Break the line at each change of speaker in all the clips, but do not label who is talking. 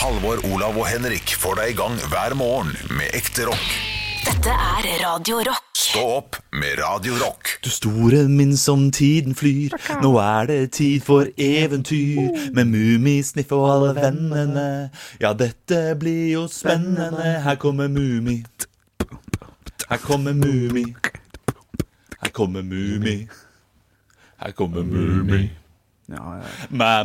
Halvor, Olav og Henrik får deg i gang hver morgen med ekte rock.
Dette er Radio Rock.
Stå opp med Radio Rock.
Du store min som tiden flyr, nå er det tid for eventyr. Med Mummisniff og alle vennene. Ja, dette blir jo spennende. Her kommer Mummi. Her kommer Mummi. Her kommer Mummi. Her kommer Mummi. Mæ,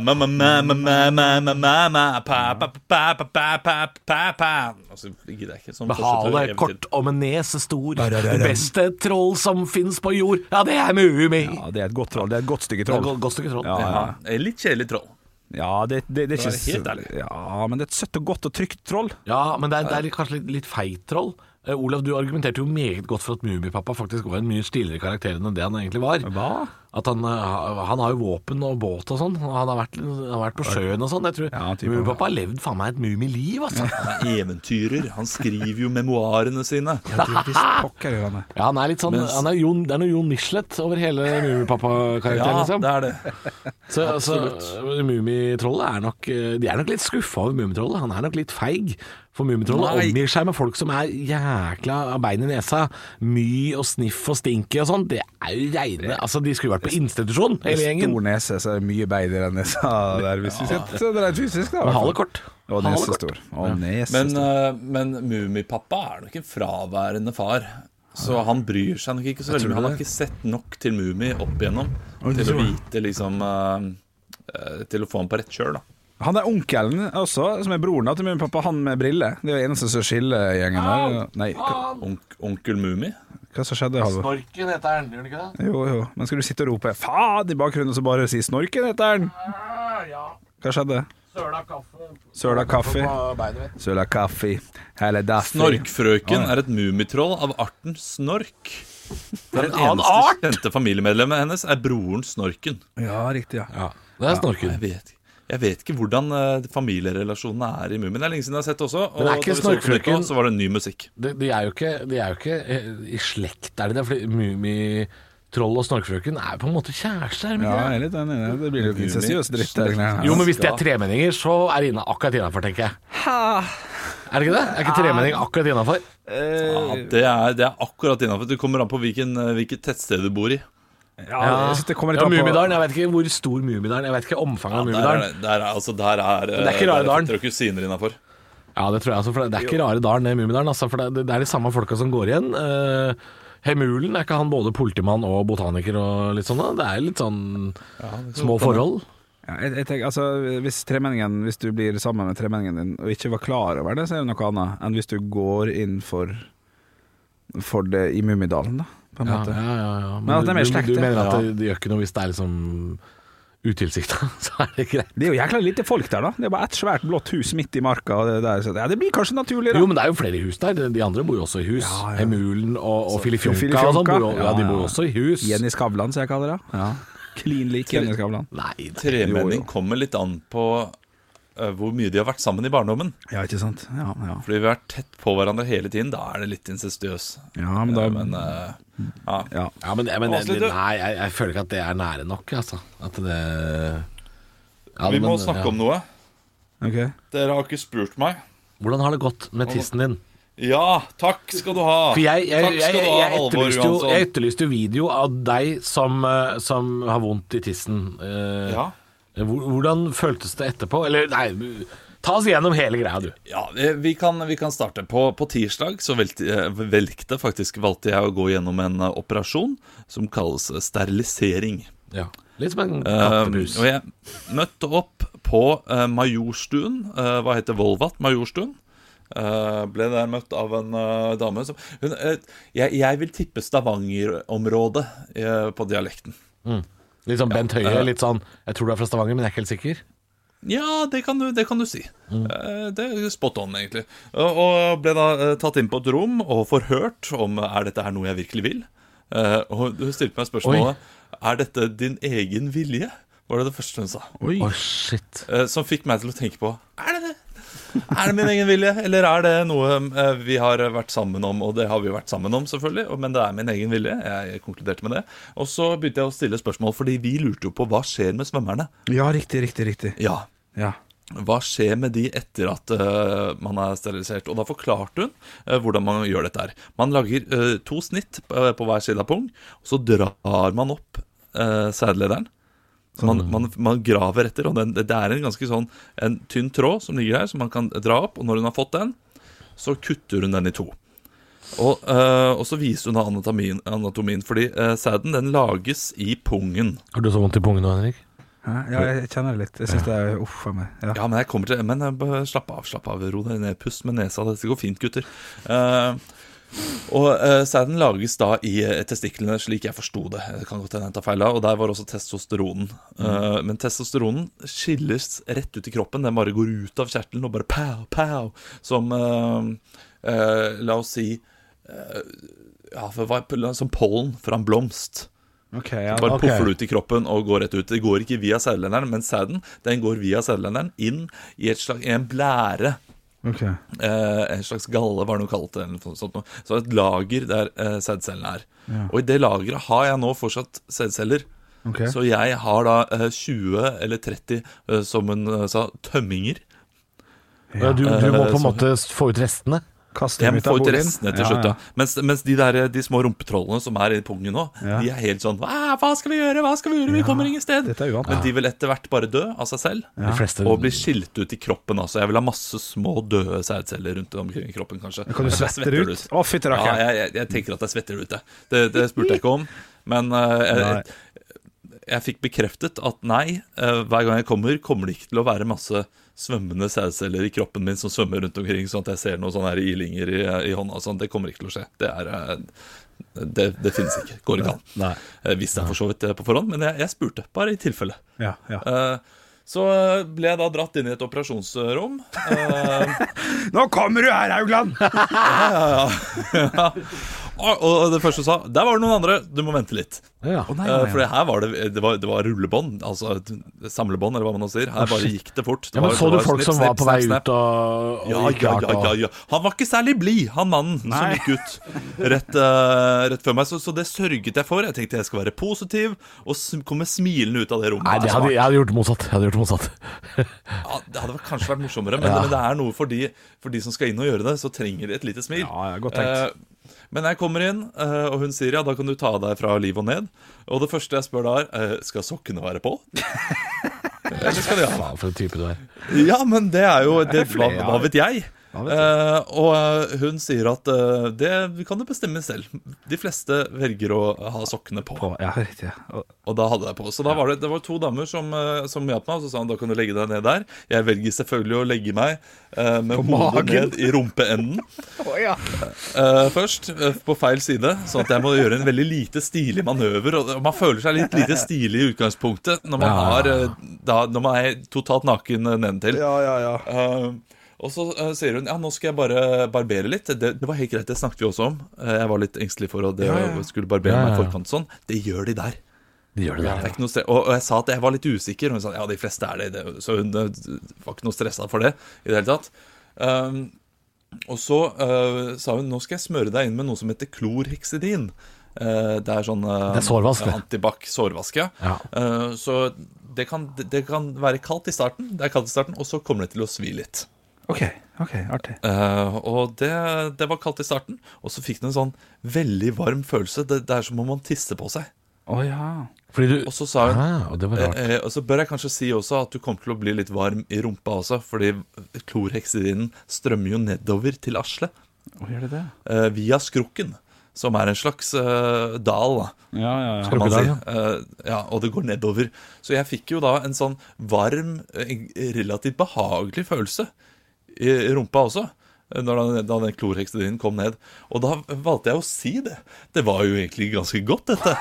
mæ, mæ, mæ, mæ, mæ, mæ, mæ, mæ, mæ, pa, pa, pa, pa, pa, pa, pa, pa. Altså, gidder jeg ikke sånn
Hale
fortsetter
kort om en nese stor. Det beste troll som fins på jord. Ja, det er Muumi.
Ja, det er et godt troll. Det er et godt stykke
Det er
troll.
et godt stykke troll.
Ja, ja.
Ja, Litt kjedelig troll.
ja det, det, det er
Ja,
ikke s-
helt ærlig.
Ja, men det er et søtt og godt og trygt troll.
Ja, men det er, det er litt- kanskje litt, litt feit troll. Eh, Olav, du argumenterte jo meget godt for at Mummipappa faktisk var en mye stiligere karakter enn det han egentlig var.
Hva?
At han, eh, ha- han har jo våpen og båt og sånn. Han har vært, han har vært på sjøen og sånn. Jeg tror
Ja, typen.
Mummipappa har levd faen meg et mumiliv, altså.
Han er eventyrer. Han skriver jo memoarene sine.
Pokker gjør han det.
Ja, han er litt sånn han er Jon, Det er noe Jon Michelet over hele Mummipappa-karakteren, liksom.
det er det.
Så, så eh, Mummitrollet er nok eh, De er nok litt skuffa over Mummitrollet. Han er nok litt feig. For Mummitrollet
Nei.
omgir seg med folk som er jækla av bein i nesa. My og sniff og stinky og sånn. Det er jo reine Altså, de skulle vært på institusjon,
Med
hele gjengen.
Stor nese, så er det mye beid i den nesa der, hvis vi ser så det er fysisk, da. i hvert fall.
Halekort.
Og nese stor. Og nese
Men,
stor.
eh, men Mummipappa er nok en fraværende far. Så han bryr seg nok ikke så veldig.
tror
mye. Han har
det.
ikke sett nok til Mummi opp igjennom til å vite liksom eh, eh, Til å få ham på rett kjøl, da.
Han er onkelen også, som er broren da til min pappa, han med briller. Det er jo eneste som skiller gjengen der. Nei, hva,
Onk, onkel Mummi.
hva som skjedde, Halvor?
Snorken heter han, gjør det ikke det?
Jo, jo. Men skal du sitte og rope 'faen' i bakgrunnen og så bare si 'snorken' etter den? Hva skjedde?
Eh, Søla kaffe.
Søla kaffe.
beinet mitt.
Søla kaffe. Hele daffi.
Snorkfrøken er et mummitroll av arten snork. Det er
en annen art?
kjente familiemedlemmet hennes er broren Snorken.
Ja, riktig, ja.
Ja, det er
Jeg
Snorken.
vet, jeg vet ikke hvordan eh, familierelasjonene er i Mummin. Det er lenge siden jeg har sett det også. Og
Men er
da
ikke
vi så det på nytt
Snorkfrøken-
nå, så var det ny musikk.
De, de er jo ikke, de er jo ikke eh, i slekt, er de det? Fordi Mummitroll og Snorkfrøken er jo på en måte kjærester, er de ikke
Ja,
det?
jeg er litt enig i det. Det blir litt insensiøs dritt. der, greiene her.
Jo, men hvis det er tremenninger, så er det inna, akkurat innafor, tenker jeg. Er det ikke det? Er ikke tremenning akkurat innafor?
Ja, det, er, det er akkurat innafor. Det kommer an på hvilken, eh, hvilket tettsted du bor i.
Ja, jeg synes det kommer litt
ja,
an på-
Mummidalen. Jeg vet ikke hvor stor Mummidalen Jeg vet ikke omfanget av
Der er,
Mummidalen.
det- der er, altså, der er,
det er ikke rare dalen.
fetter og kusiner innafor.
Ja, det tror jeg også, for det er ikke rare dalen, det Mummidalen. Altså, for det, det er de samme folka som går igjen. Eh, Hemulen, er ikke han både politimann og botaniker og litt sånn? da? Det er litt sånn små forhold.
Ja, jeg, jeg tenker, altså, hvis, tremenningen, hvis du blir sammen med tremenningen din og ikke var klar over det, så er det noe annet enn hvis du går inn for, for det i Mummidalen, da. På en
Ja,
måte.
ja, ja, ja.
Men at de er mer
du-
slekt,
Du,
ja.
du mener at
Ja.
det, det gjør ikke noe hvis det er liksom utilsikta, så er det greit.
Det er jo jækla lite folk der, da. Det er bare ett svært blått hus midt i marka. Og det, der, så, ja, det blir kanskje naturlig, da.
Jo, men det er jo flere hus der. De andre bor jo også i hus.
Ja, ja.
Hemulen og, og Filifjonka
Filifjonka.
og sånn. Bor, jo- ja,
Ja,
de
ja.
bor jo også i hus.
Jenny Skavlan, som jeg kaller det. Ja. Klin lik Jenny Skavlan.
Nei, det-
Jo, jo.
Tremenning kommer litt an på eh, hvor mye de har vært sammen i barndommen.
Ja, ikke sant. Ja, ja.
Fordi vi har vært tett på hverandre hele tiden. Da er det litt incestuøs.
ja men da
Men eh, ja.
ja.
ja, men, men
Avslutt, du.
Nei, jeg, jeg føler ikke at det er nære nok, altså. At det Ja,
Vi må
men,
snakke
ja.
om noe.
Ok.
Dere har ikke spurt meg.
Hvordan har det gått med tissen din?
Ja, takk skal du ha.
For jeg, jeg,
takk
jeg,
skal
jeg,
du ha, Halvor
etterlyste, jo,
Johansson.
jeg etterlyste jo video av deg som, eh, som har vondt i tissen. Eh,
Ja.
hvor- Hvordan føltes det etterpå? Eller nei, ta oss gjennom hele greia, du.
Ja, vi- vi kan, vi kan starte. På, på tirsdag så velte, eh, velgte faktisk valgte jeg å gå gjennom en eh, operasjon som kalles eh, sterilisering.
Ja. Litt som en
Eh,
kattepus.
og jeg møtte opp på eh, Majorstuen, eh, hva heter Volvat Majorstuen. Eh, ble der møtt av en eh, dame som hun, eh, jeg, jeg vil tippe Stavanger-området eh, på dialekten.
Litt sånn Bent Høie, litt sånn Jeg tror du er fra Stavanger, men jeg er ikke helt sikker.
Ja, det kan du, det kan du si. Eh, Det er spot on, egentlig. Og og ble da eh, tatt inn på et rom og forhørt om eh, er dette her noe jeg virkelig vil. Eh, Og hun stilte meg spørsmålet er dette din egen vilje. Var det det første hun sa.
Å, shit.
Eh, Som fikk meg til å tenke på er det det? Er det min egen vilje, eller er det noe eh, vi har vært sammen om? Og det har vi jo vært sammen om, selvfølgelig, og- men det er min egen vilje. Jeg konkluderte med det. Og så begynte jeg å stille spørsmål, fordi vi lurte jo på hva skjer med svømmerne.
ja, riktig, riktig, riktig.
Ja,
Ja.
Hva skjer med de etter at eh, man er sterilisert? Og da forklarte hun eh, hvordan man gjør dette her. Man lager eh, to snitt eh, på hver side av pung, og så drar man opp uh, sædlederen. Så Man, man, man graver etter, og den, det er en ganske sånn en tynn tråd som ligger der, som man kan dra opp, og når hun har fått den, så kutter hun den i to. Og, eh, og så viser hun da anatomien, anatomien fordi eh, sæden den lages i pungen.
Har du så vondt i pungen nå, Henrik?
Hæ? Ja, jeg kjenner det litt. Jeg syns det er uff a meg. Ja.
Ja, men jeg kommer til Men eh, bare slapp av, slapp av. Ro deg ned. Pust med nesa. Dette går fint, gutter. Eh, og eh, sæden lages da i eh, testiklene, slik jeg forsto det. Det kan godt hende jeg tar feil av. Og der var også testosteronen. Eh, men testosteronen skilles rett ut i kroppen. Den bare går ut av kjertelen og bare pow, pow. Som eh, eh, La oss si eh, ja, for hva- Som pollen fra en blomst.
Ok, ja.
Bare
ok.
poffer det ut i kroppen og går rett ut. Det går ikke via sædlenderen, men sæden den går via sædlenderen inn i, et slag, i en blære.
ok.
Eh, en slags galle, var det noe kalt det. Eller noe sånt, noe. så et lager der eh, sædcellene er. Og i det lageret har jeg nå fortsatt sædceller.
ok.
Så jeg har da eh, 20 eller 30, eh, som hun eh, sa, tømminger.
Ja, sånn. du, du må
Eh,
på en
så-
måte få ut restene.
Kast
Jeg
dem
må
ut
få
av
ut
boligen.
restene til
Ja,
slutt.
ja.
da Mens, mens de, der, eh, de små rumpetrollene som er i pungen nå,
Ja.
de er helt sånn Hva hva skal vi gjøre? Hva skal vi gjøre? Vi kommer ingen sted.
Dette er uvant.
Men de vil etter hvert bare dø av seg selv.
De fleste
Og bli skilt ut i kroppen. Altså. Jeg vil ha masse små døde sædceller rundt omkring i kroppen, kanskje.
Kan du
Jeg
svette
svetter
det ut? Å, fytti
Ja,
rakkeren.
jeg, jeg, jeg tenker at jeg svetter det ut, jeg. Det, det spurte jeg ikke om. Men eh,
Nei.
jeg, jeg fikk bekreftet at nei, eh, hver gang jeg kommer, kommer det ikke til å være masse svømmende sædceller i kroppen min som svømmer rundt omkring, sånn at jeg ser noen sånne her ilinger i, i hånda og sånn. Det kommer ikke til å skje. Det er eh, det, det finnes ikke. Går ikke an.
Nei.
Jeg visste jeg for så vidt det på forhånd, men jeg, jeg spurte, bare i tilfelle.
Ja, ja.
Eh, Så eh, ble jeg da dratt inn i et operasjonsrom. Eh,
Nå kommer du her, Haugland!
Ah, og- Og det første sa Der var det noen andre, du må vente litt.
Ja.
Eh, For det her var det Det var, det var rullebånd, altså et samlebånd, eller hva man nå sier. Her bare gikk det fort. Det
Ja, men
var-
Så
det
du
var
folk
snipp,
som var
snipp,
på vei
snapp, snapp.
ut og, og
Ja,
gikk
ja,
rart
ja, ja,
og-
ja. Han var ikke særlig blid, han mannen som
Nei.
gikk ut rett, eh, rett før meg. Så, så det sørget jeg for. Jeg tenkte jeg skal være positiv og sm komme smilende ut av det rommet.
Nei, det hadde, jeg hadde gjort motsatt. Jeg hadde gjort motsatt.
Ja, Det hadde kanskje vært morsommere, men,
Ja.
men det er noe for de, for de som skal inn og gjøre det, så trenger de et lite smil.
Ja, ja, godt tenkt.
Eh, men jeg kommer inn, eh, og hun sier ja, da kan du ta av deg fra liv og ned. Og det første jeg spør da, er eh, skal sokkene være på? Eller skal de ha
Faen, for en type du er.
Ja, men det er jo det, hva,
flere, ja.
hva vet jeg?
vet jeg?
Eh, og eh, hun sier at eh, det kan du bestemme selv. De fleste velger å ha sokkene på.
Å, Ja, riktig. ja.
Og da hadde jeg på. Så da var det, det var to damer som, eh, som hjalp meg, og så sa han da kan du legge deg ned der. Jeg velger selvfølgelig å legge meg eh, med hodet
magen.
ned i rumpeenden
Å, ja.
eh, først, eh, på feil side, sånn at jeg må gjøre en veldig lite stilig manøver. Og man føler seg litt lite stilig i utgangspunktet når man,
Ja.
har, eh, da, når man er totalt naken eh, nedentil.
Ja, ja, ja.
Eh, og så eh, sier hun ja, nå skal jeg bare barbere litt. Det, det var helt greit, det snakket vi også om. Eh, jeg var litt engstelig for å det,
Ja, ja.
skulle barbere
Ja,
meg i
ja, ja.
forkant sånn. Det gjør de der.
De gjør det
Det
der.
er ikke noe stre- og, og jeg sa at jeg var litt usikker, og hun sa ja, de fleste er det. det så hun eh, var ikke noe stressa for det i det hele tatt. Ehm, og så eh, sa hun nå skal jeg smøre deg inn med noe som heter klorheksidin. Eh, det er sånn uh,
Det er sårvask, det.
antibac sårvaske.
Ja.
Eh, så det kan, det, det kan være kaldt i starten, Det er kaldt i starten, og så kommer det til å svi litt.
Ok, ok, artig.
Eh, og det, det var kaldt i starten, og så fikk den en sånn veldig varm følelse. Det, det er som om man tisser på seg.
Å ja.
Fordi du
Og så sa hun
Hæ? Og det var rart.
Eh, eh, og så bør jeg kanskje si også at du kommer til å bli litt varm i rumpa også, fordi klorheksidinen strømmer jo nedover til Asle
Å, gjør det det?
eh, via skrukken, som er en slags eh, dal, da,
Ja, ja, ja.
kan man si.
Skrukkedal,
Eh, ja, og det går nedover. Så jeg fikk jo da en sånn varm, eh, relativt behagelig følelse i i rumpa også. eh, Når da, da den klorheksidinen kom ned. Og da valgte jeg å si det. Det var jo egentlig ganske godt, dette.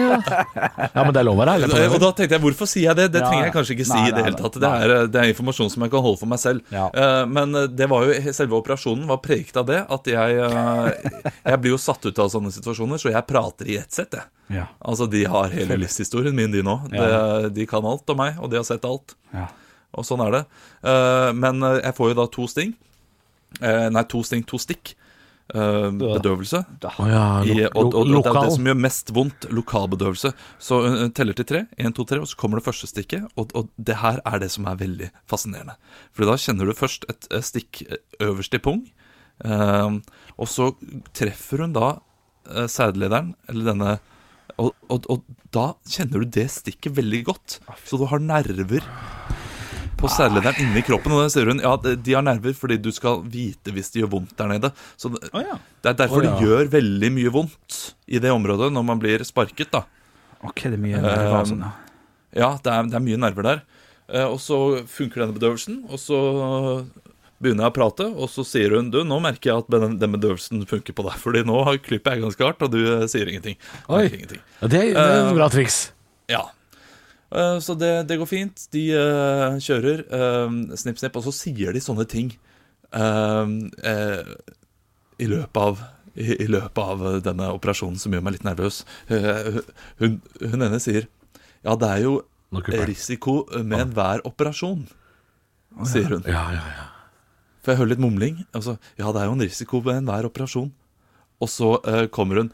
Ja, men det er lov å være ærlig på
Og
det.
da tenkte jeg, hvorfor sier jeg det? Det
Ja,
trenger
ja.
jeg kanskje ikke si
Nei,
i det
nei,
hele tatt. Det
nei.
er, det er informasjon som jeg kan holde for meg selv.
Ja.
Eh, Men det var jo, selve operasjonen var preget av det at jeg eh, Jeg blir jo satt ut av sånne situasjoner, så jeg prater i ett sett, jeg.
Ja,
Altså, de har hele livshistorien min, de nå. De, de kan alt om meg, og de har sett alt.
ja.
Og sånn Eh, er det. Eh, Men jeg får jo da to sting. Eh, Nei, to sting, to stikk. eh, bedøvelse.
Å ja,
I,
lo-
og, og, og
lo-
det er
lokal.
det som gjør mest vondt, lokalbedøvelse. Så hun hun teller til tre, én, to, tre, og så kommer det første stikket. Og, og det her er det som er veldig fascinerende. For da kjenner du først et eh, stikk eh, øverst i pung, eh, og så treffer hun da eh, sædlederen, eller denne og, og, og da kjenner du det stikket veldig godt. Så du har nerver på sædlederen inni kroppen. Og da sier hun ja, de har nerver fordi du skal vite hvis det gjør vondt der nede. Så det,
Å ja.
det er derfor
Å, ja.
det gjør veldig mye vondt i det området når man blir sparket. da.
Ok, det er mye
nerver og
sånn,
sånn, Ja, det er, det er mye nerver der. Eh, Og så funker denne bedøvelsen, og så begynner jeg å prate, og så sier hun du, nå merker jeg at den, den bedøvelsen funker på deg, fordi nå har- klipper jeg ganske hardt, og du eh, sier ingenting.
Oi.
Merker ingenting.
Ja, det, det er et bra triks.
Ja. Eh, Så det, det går fint. De eh, kjører eh, snipp, snipp, og så sier de sånne ting eh, eh, i løpet av i, I løpet av denne operasjonen som gjør meg litt nervøs. Eh, hun, hun ene sier Ja, det er jo
Nå kupper jeg.
risiko med enhver operasjon, sier hun.
Ja, ja, ja.
For jeg hører litt mumling. Altså, ja, det er jo en risiko ved enhver operasjon. Og så eh, kommer hun.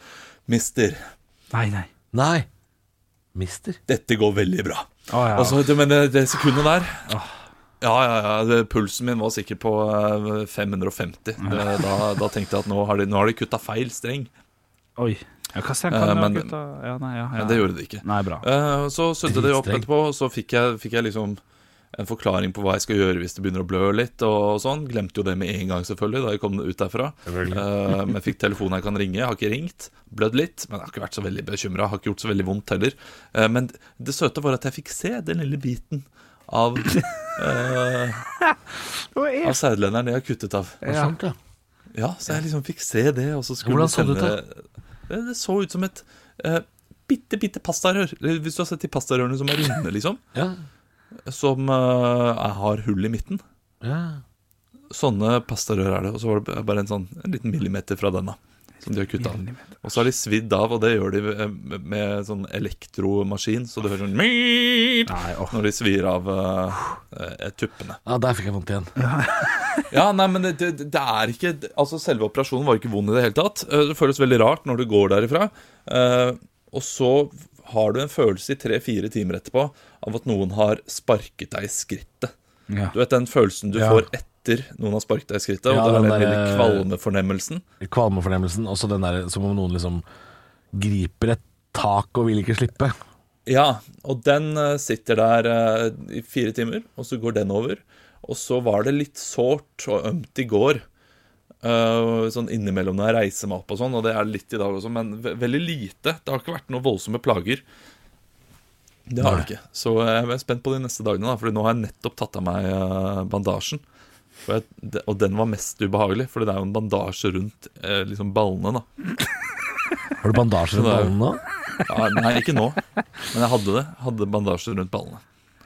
Mister,
Nei, nei.
Nei. Mister.
dette går veldig bra.
Å ja.
Altså, du mener det sekundet der Ja, ja, ja, det- pulsen min var sikkert på eh, 550 Eh, da, da tenkte jeg at nå har de, nå har de kutta feil streng
Oi. Ja, hva ser jeg
Eh,
kan
men-
men, gutta? Ja, nei, ja, ja.
Men det gjorde de ikke
Nei, bra.
Eh, Så sudde de opp
Dritstreng.
etterpå Og så fikk jeg, fikk jeg liksom en forklaring på hva jeg skal gjøre hvis det begynner å blø litt og sånn Glemte jo det med en gang selvfølgelig da jeg kom ut derfra Eh, Men fikk telefonen jeg kan ringe, jeg har ikke ringt Blødd litt, men jeg har ikke vært så veldig bekymret Har ikke gjort så veldig vondt heller Eh, Men det søte var at jeg fikk se den lille biten av eh, Av sædlenderen jeg har kuttet av.
Morsomt, ja.
Ja, så jeg liksom fikk se det, og så skulle
Hvordan så det ut
ut, da? Det, det så ut som et eh, bitte, bitte pastarør. Eller Hvis du har sett de pastarørene som er runde, liksom.
ja.
Som eh, har hull i midten.
ja.
Sånne pastarør er det. Og så var det bare en sånn en liten millimeter fra den, da. Som de har kutta av. Og så har de svidd av, og det gjør de eh, med, med sånn elektromaskin, så du hører sånn «Miip»
Nei, åh.
når de svir av eh, eh, tuppene.
Ja, der fikk jeg vondt igjen.
Ja, nei, men det, det, det er ikke Altså, selve operasjonen var ikke vond i det hele tatt. Eh, Det føles veldig rart når du går derifra. eh, Og så har du en følelse i tre-fire timer etterpå av at noen har sparket deg i skrittet.
Ja.
Du vet den følelsen du
Ja.
får etter noen har sparket deg i skrittet, og
Ja,
det er
den
den lille
der-
kvalmefornemmelsen.
Kvalmefornemmelsen, og så den der som om noen liksom griper et tak og vil ikke slippe.
Ja, og den eh, sitter der eh, i fire timer, og så går den over. Og så var det litt sårt og ømt i går. eh, sånn innimellom når jeg reiser meg opp og sånn, og det er litt i dag også, men ve veldig lite. Det har ikke vært noen voldsomme plager. Det har det ikke. Så eh, jeg er spent på de neste dagene, da, Fordi nå har jeg nettopp tatt av meg eh, bandasjen. Og, jeg, de- og den var mest ubehagelig, Fordi det er jo en bandasje rundt eh, liksom ballene, da.
Har du bandasjer rundt
Det er-
ballen nå?
Ja, nei, ikke nå, men jeg hadde det. Hadde bandasje rundt ballene.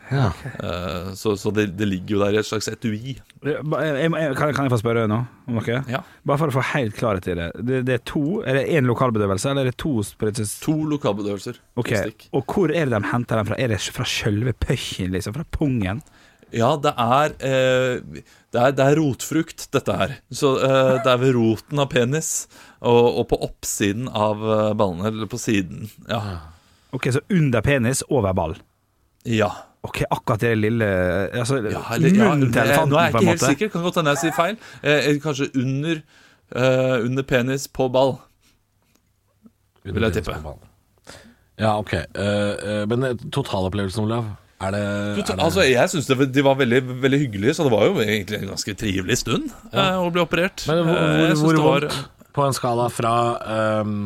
Ja.
Eh, Så, så det, det ligger jo der i et slags etui.
Jeg, eh, jeg, jeg- kan, kan jeg få spørre nå om noe?
Ja.
Bare for å få helt klarhet i det. Det, det er to, er det én lokalbedøvelse, eller er det to sprites?
To lokalbedøvelser. to
Ok,
stikk.
Og hvor er det de henter dem fra? Er det fra sjølve pøkken, liksom? Fra pungen?
Ja, det er, eh, det er Det er rotfrukt, dette her. Så eh, det er ved roten av penis og, og på oppsiden av eh, ballene. Eller på siden. Ja.
Ok, Så under penis, over ball.
ja.
Ok, akkurat det lille Altså,
ja eller- ja,
munnen til
det- Nå er
elefanten,
jeg
på en
ikke helt
måte.
sikker. Kan godt hende jeg sier feil. Eh, eh, kanskje under, eh, under penis på ball. Vil jeg tippe.
Ja, ok. Eh, eh, men totalopplevelsen, Olav, er det,
Du,
er det
altså, jeg syns de var veldig, veldig hyggelige, så det var jo egentlig en ganske trivelig stund eh, å bli operert.
Men hvor,
Eh, jeg
hvor,
synes
hvor
det var-
vondt på en skala fra ehm,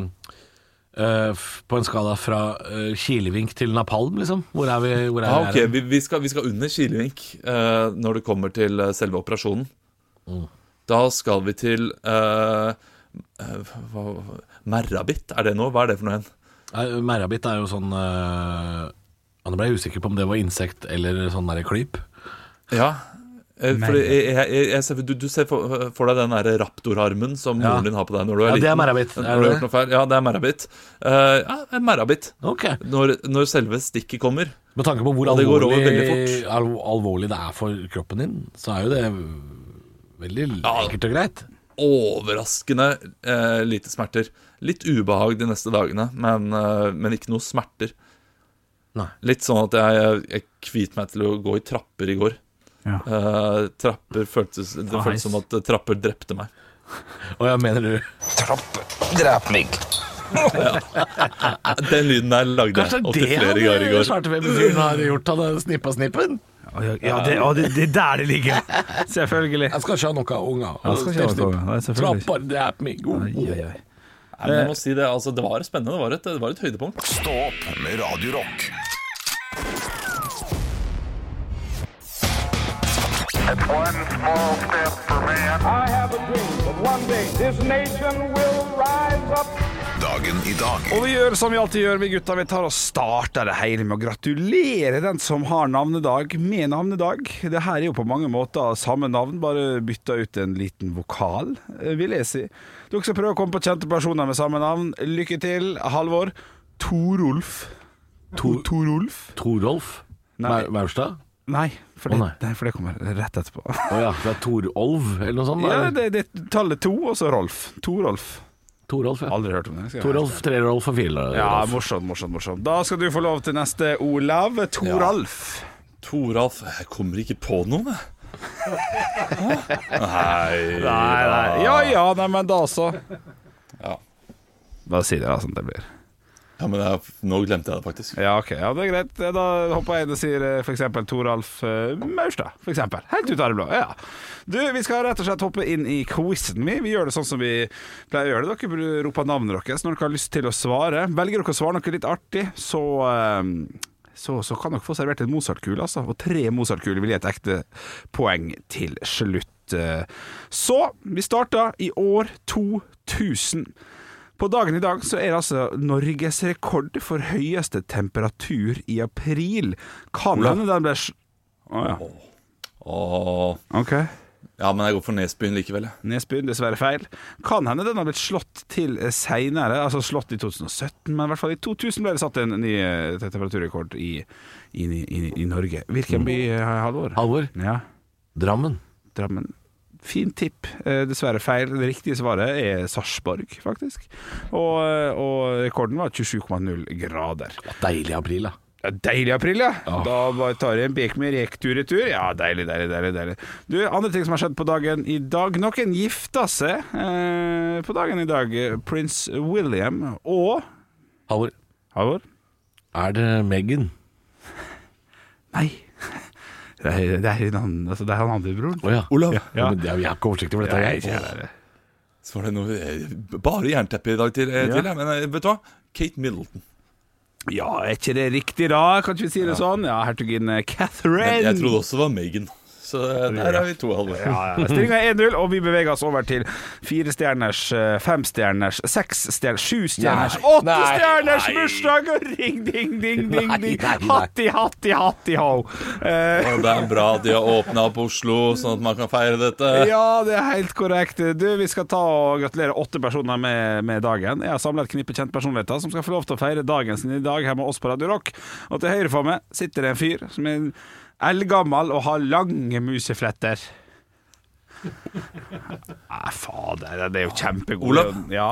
eh, f- På en skala fra eh, kilevink til napalm, liksom? Hvor er vi? Hvor er
Ja, Ah, ok,
vi er
vi, vi, skal, vi skal under kilevink eh, når det kommer til eh, selve operasjonen.
Mm.
Da skal vi til eh, eh, hva, Merrabit, er det noe? Hva er det for noe igjen?
Nei, Merrabit er jo sånn uh, Nå ble jeg usikker på om det var insekt eller sånn der klyp.
Ja, eh, fordi jeg, jeg, jeg, jeg ser, du, du ser for, for deg den der raptorarmen som
Ja.
moren din har på deg når du er
Ja, det
liten.
er merrabit. Er
Når du har
det
gjort noe feil. Ja, det er merrabit. Eh, ja, en merrabit.
Ok
Når, når selve stikket kommer.
Med tanke på hvor
Og det går over
alvorlig,
veldig
al- alvorlig det er for kroppen din, så er jo det veldig
Ja.
enkelt og greit.
overraskende eh, lite smerter. Litt ubehag de neste dagene, men, eh, men ikke noe smerter.
Nei.
Litt sånn at jeg, jeg kviet meg til å gå i trapper i går.
Ja.
Eh, trapper føltes, det
Nice.
føltes som at eh, trapper drepte meg.
Og jeg mener du
Eh, Den lyden der lagde
Kanskje
jeg
det eh,
opptil
er
flere ganger i
det
går.
svartefeberfyren har gjort av den snippa-snippen?
Ja, det, å, det, det er der det ligger. Selvfølgelig.
Altså,
Jeg skal ikke ha noe av unger.
Jeg skal ikke ha noe av unger. Nei, selvfølgelig ikke.
Trapper drep meg. Oh,
Oi, oi, oi.
Nei, men jeg må si det, altså, det var spennende. Det var et, det var et høydepunkt.
Stå opp med Radio Rock.
One small step for man.
I have a dream that one day this nation will rise up.
Dagen i dag.
Og vi gjør som vi alltid gjør, vi gutta. Vi tar og starter det hele med å gratulere den som har navnedag, med navnedag. Det her er jo på mange måter samme navn, bare bytta ut en liten vokal, eh, vil jeg si. Dere skal prøve å komme på kjente personer med samme navn. Lykke til, Halvor. Torolf. To Torolf?
oh. Torolf
Nei.
Mau- Maurstad?
Nei, for
Å,
det,
nei.
nei, for det kommer rett etterpå.
Å ja, det er Torolv eller noe sånt?
Ja,
eller?
det, det er tallet to, og så Rolf. Torolf.
Torolf, ja.
Aldri hørt om det. skal jeg-
Torolf, Trerolf og Firerolf.
Ja, morsomt, morsomt, morsomt. Da skal du få lov til neste, Olav. Toralf.
Toralf, jeg kommer ikke på noen, jeg.
Nei, nei. Ja ja, nei, men da så.
Ja.
Da sier jeg sånn det blir.
Ja, men jeg, nå glemte jeg det faktisk.
Ja, ok, ja, det er greit. Da hopper jeg inn og sier eh, for eksempel Toralf eh, Maurstad. For eksempel. Helt ut av det blå. Ja. Du, vi skal rett og slett hoppe inn i quizen min. Vi gjør det sånn som vi pleier å gjøre det. Dere br- roper navnet deres når dere har lyst til å svare. Velger dere å svare noe litt artig, så eh, så, så kan dere få servert en Mozart-kule, altså. Og tre Mozart-kuler vil gi et ekte poeng til slutt. Eh, Så vi starter i år 2000. På dagen i dag så er det altså norgesrekord for høyeste temperatur i april. Kan hende den ble sj- Å ja.
Åh,
Ok.
ja, men jeg går for Nesbyen likevel, jeg.
Nesbyen, dessverre feil. Kan hende den har blitt slått til seinere, altså slått i 2017, men i hvert fall i 2000 ble det satt en ny eh, temperaturrekord i, i, i, i Norge. Hvilken by, eh, Halvor?
Halvor.
Ja,
Drammen.
Drammen. Fint tipp. Eh, Dessverre feil. Det riktige svaret er Sarpsborg, faktisk. Og, eh, og rekorden var 27,0 grader.
Deilig april, da.
Ja, deilig april, ja. Da bare tar jeg en bek med rektur i tur. Ja, deilig, deilig, deilig. deilig. Du, Andre ting som har skjedd på dagen i dag. Noen gifta seg eh, på dagen i dag. Prins William og
Halvor,
Halvor?
er det Megan?
Nei. Det er, det er, en annen- altså, det er han andre broren.
Å ja.
Olav,
Ja, men jeg er ikke oversiktlig over dette.
Nei,
Jeg.
ikke jeg.
så var det noe eh, Bare jernteppe i dag til, eh, til jeg. Men eh, vet du hva? Kate Middleton.
Ja, er ikke det riktig da? Kan ikke vi si det sånn? Ja, hertuginne Catherine.
Men jeg trodde også det var Megan. Så eh, der er vi to, Halvor.
Ja, ja. Stillinga er 1-0, og vi beveger oss over til firestjerners, eh, femstjerners, seksstjerners, sjustjerners,
Nei. Nei.
åttestjerners
Nei.
bursdag og ring, ding, ding, ding,
Nei,
ding.
nei, nei.
Hatti, hatti, hatti, ho. Eh,
Og det er bra at de har åpna opp Oslo, sånn at man kan feire dette.
ja, det er helt korrekt. Du, vi skal ta og gratulere åtte personer med, med dagen. Jeg har samla et knippe kjente personligheter som skal få lov til å feire dagen sin i dag her med oss på Radio Rock. Og til høyre for meg sitter det en fyr som er eldgammel og har lange musefletter. Nei, fader, det er jo kjempegod
Olav?
Ja.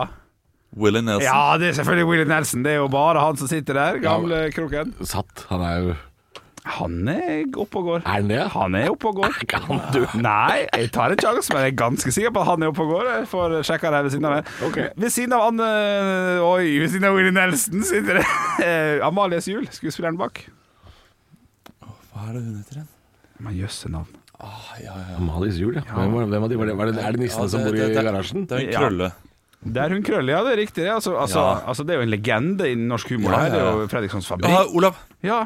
Willie Nelson.
ja, det er selvfølgelig Willy Nelson. Det er jo bare han som sitter der, gamle kroken.
Satt. Han er jo
Han er oppe og går.
Er han det?
Han er oppe og går.
Kan du
Nei, jeg tar en sjanse, men jeg er ganske sikker på at han er oppe og går. Jeg får sjekka det her ved siden av meg. Ved siden av Anne Oi, ved siden av Willy Nelson sitter det eh, Amalies Jul, skuespilleren bak.
Hva er det hun heter igjen?
Men jøsse navn.
Amalies jul, ja. Hvem, var- hvem av de var det? Var det? Er det nissene
Ja,
som
det-
bor i
det- det-
garasjen?
Det er en
Ja.
krølle.
Der hun krøller, ja, det er riktig. det. Altså, altså,
Ja.
altså, det er jo en legende innen norsk humor.
Ja,
det her. Det
ja, ja.
er jo Fredrikssons
Ja,
fabrikk.
Ah, Olav.
Ja.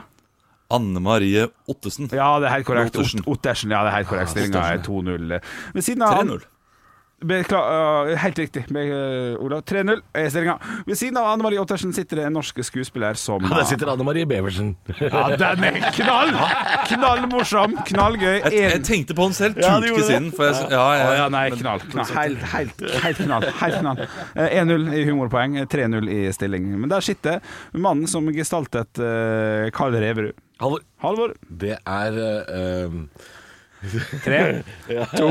Anne Marie Ottesen.
ja, det er helt korrekt.
Ottersen.
Ot- Ottersen, ja, det er helt korrekt. Stillinga er 2-0. Ved siden av han
3-0.
Bekla- øh, helt riktig, Be øh, Olav. 3-0 er stillinga. Ved siden av Anne Marie Ottersen sitter det en norsk skuespiller som
Ja, der sitter Anne Marie Beversen.
Ja, den er knall! Knallmorsom, knallgøy.
Jeg, jeg
En-
tenkte på den selv,
Ja,
turte
du
ikke
gjorde
si
det.
den. For jeg, s- ja,
Å
jeg,
ja, nei, knall. knall. Helt, helt, helt knall. Helt knall. Eh, 1-0 i humorpoeng, eh, 3-0 i stilling. Men der sitter mannen som gestaltet eh, Karl Reverud.
Halvor,
Halvor.
det er eh, eh,
Tre, to,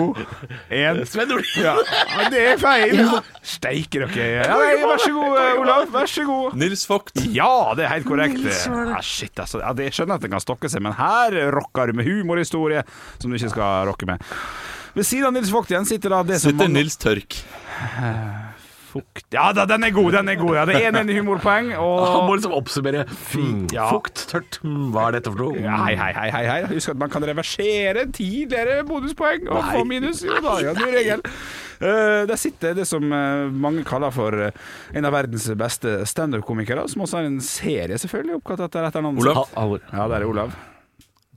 én
Sven Nordin.
ja. ja, det er feil! Steike dere. Ja, nei, vær så god, eh, Olav. Vær så god.
Nils Vogt.
Ja, det er helt korrekt. Ja, shit, altså. ja, det- jeg skjønner at det kan stokke seg, men her rocker du med humorhistorie som du ikke skal rocke med. Ved siden av Nils Vogt igjen sitter da det som
Sitter
man-
Nils Tørk.
Fukt. Ja da, den er god, den er god. Ja, det er en humorpoeng.
Ah,
Han må
Og
liksom oppsummere. Mm,
ja.
Fukt, tørt, mm, hva er dette for noe? Mm.
ja, hei, hei, hei, hei, hei. Husk at man kan reversere tidligere bonuspoeng og få minus. Jo da, ja, det er regel. Eh, der sitter det som eh, mange kaller for eh, en av verdens beste standup-komikere, som også har en serie, selvfølgelig, oppkalt etter et eller annet.
Olav.
Ha- Halvor.
Ja, der er Olav.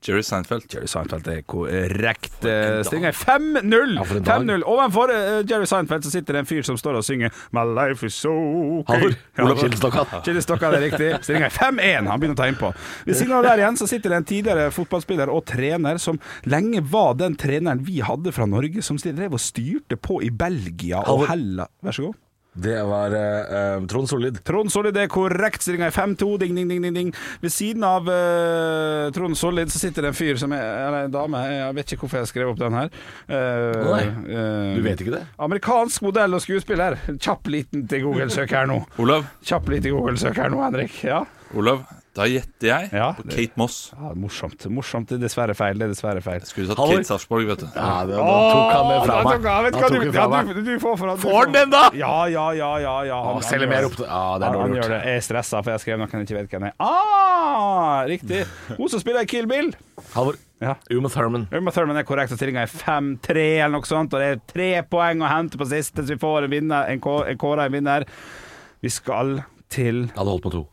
Jerry Seinfeld.
Jerry Seinfeld er korrekt. eh, Stillinga er 5-0!
Ja, for en dag.
5-0. Ovenfor eh, Jerry Seinfeld så sitter det en fyr som står og synger My life is so okay.
Halvor. Olav
Ja.
Kildenstokkan.
Kjell Stokka, det er riktig. Stillinga er 5-1. Han begynner å ta innpå. Ved siden av der igjen så sitter det en tidligere fotballspiller og trener som lenge var den treneren vi hadde fra Norge, som drev og styrte på i Belgia og
Halvor.
Hellas. Vær så god.
Det var eh, eh, Trond Sollid.
Trond Sollid er korrekt. Stillinga er 5-2. Ding, ding, ding, ding, ding. Ved siden av eh, Trond Sollid så sitter det en fyr som er Eller en dame. Jeg vet ikke hvorfor jeg skrev opp den her. Eh,
Nei,
eh,
du vet ikke det?
Amerikansk modell og skuespiller. Kjapp liten til Google-søk her nå.
Olav.
Kjapp liten til Google-søk her nå, Henrik. Ja.
Olav. Da gjetter jeg
Ja,
på
det-
Kate Moss.
ja Morsomt. Morsomt. Det er dessverre feil. Det er dessverre feil.
Skulle sagt
Halvor.
Kate Sarpsborg, vet du.
Ja, det, da tok han det fra
Å, da
meg.
tok han- vet
Da
hva
tok
du-
han fra
ja,
meg.
du- du får fra- du
Får han
får-
den, da?
Ja, ja, ja. ja, ja.
Å,
Han-
Selv om
han
jeg
gjør
ropte Ja, det er
han,
dårlig
han gjør
gjort.
det. Jeg er stressa, for jeg skrev noen jeg ikke vet hvem er. Ah, riktig. Hun som spiller i Kill Bill.
Halvor.
Ja.
Uma Thurman.
Uma Thurman er korrekt, og stillinga er 5-3 eller noe sånt. Og det er tre poeng å hente på siste, så vi får en vinner, en kå- en kåra en vinner. Vi skal til
Jeg hadde holdt på to.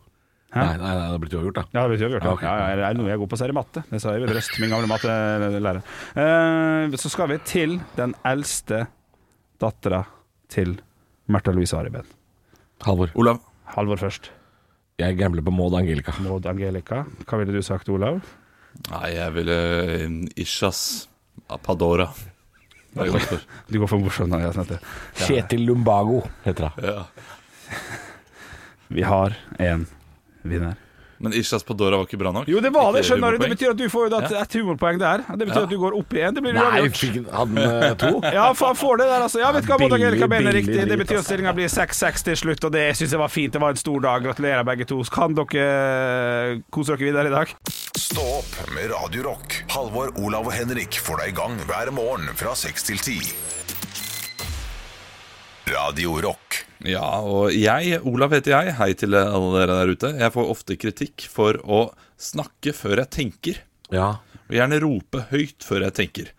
Nei, nei, nei, det hadde blitt uavgjort, da.
ja, det vet jeg, vi har gjort det.
Ja, Ah, ok.
ja, ja, det er noe jeg er god på, så er det matte. Det sa jeg ved Røst, min gamle mattelærer. Eh, så skal vi til den eldste dattera til Märtha Louise Ariben.
Halvor.
Olav.
Halvor først.
Jeg gambler på Maud Angelica.
Maud Angelica. Hva ville du sagt, Olav?
Nei, jeg ville um, Ishas Padora. Det er godt for.
Du går for morsomt navn.
sånn
jeg snakker.
Kjetil Lumbago heter hun.
Ja.
Vi har en vinner.
Men Ishas Padora var ikke bra nok?
Jo, det var det,
Ikke
skjønner du. Det
humorpoeng.
betyr at du får jo da et- ett humorpoeng der. Det betyr
Ja.
at du går opp i en. Det blir
Nei,
uavgjort.
fikk, hadde han eh, to?
Ja, for han får det der, altså. Ja, vet du hva, Maud
Billig,
Angelica mener
billig
riktig. Det
drit,
betyr at
altså.
stillinga blir 6-6 til slutt, og det syns jeg var fint. Det var en stor dag. Gratulerer, begge to. Kan dere eh, kose dere videre i dag?
Stå opp med Radio Rock. Halvor, Olav og Henrik får deg i gang hver morgen fra 6 til 10. Radio Rock.
Ja, og jeg, Olav heter jeg. Hei til alle dere der ute. Jeg får ofte kritikk for å snakke før jeg tenker.
Ja.
Og gjerne rope høyt før jeg tenker.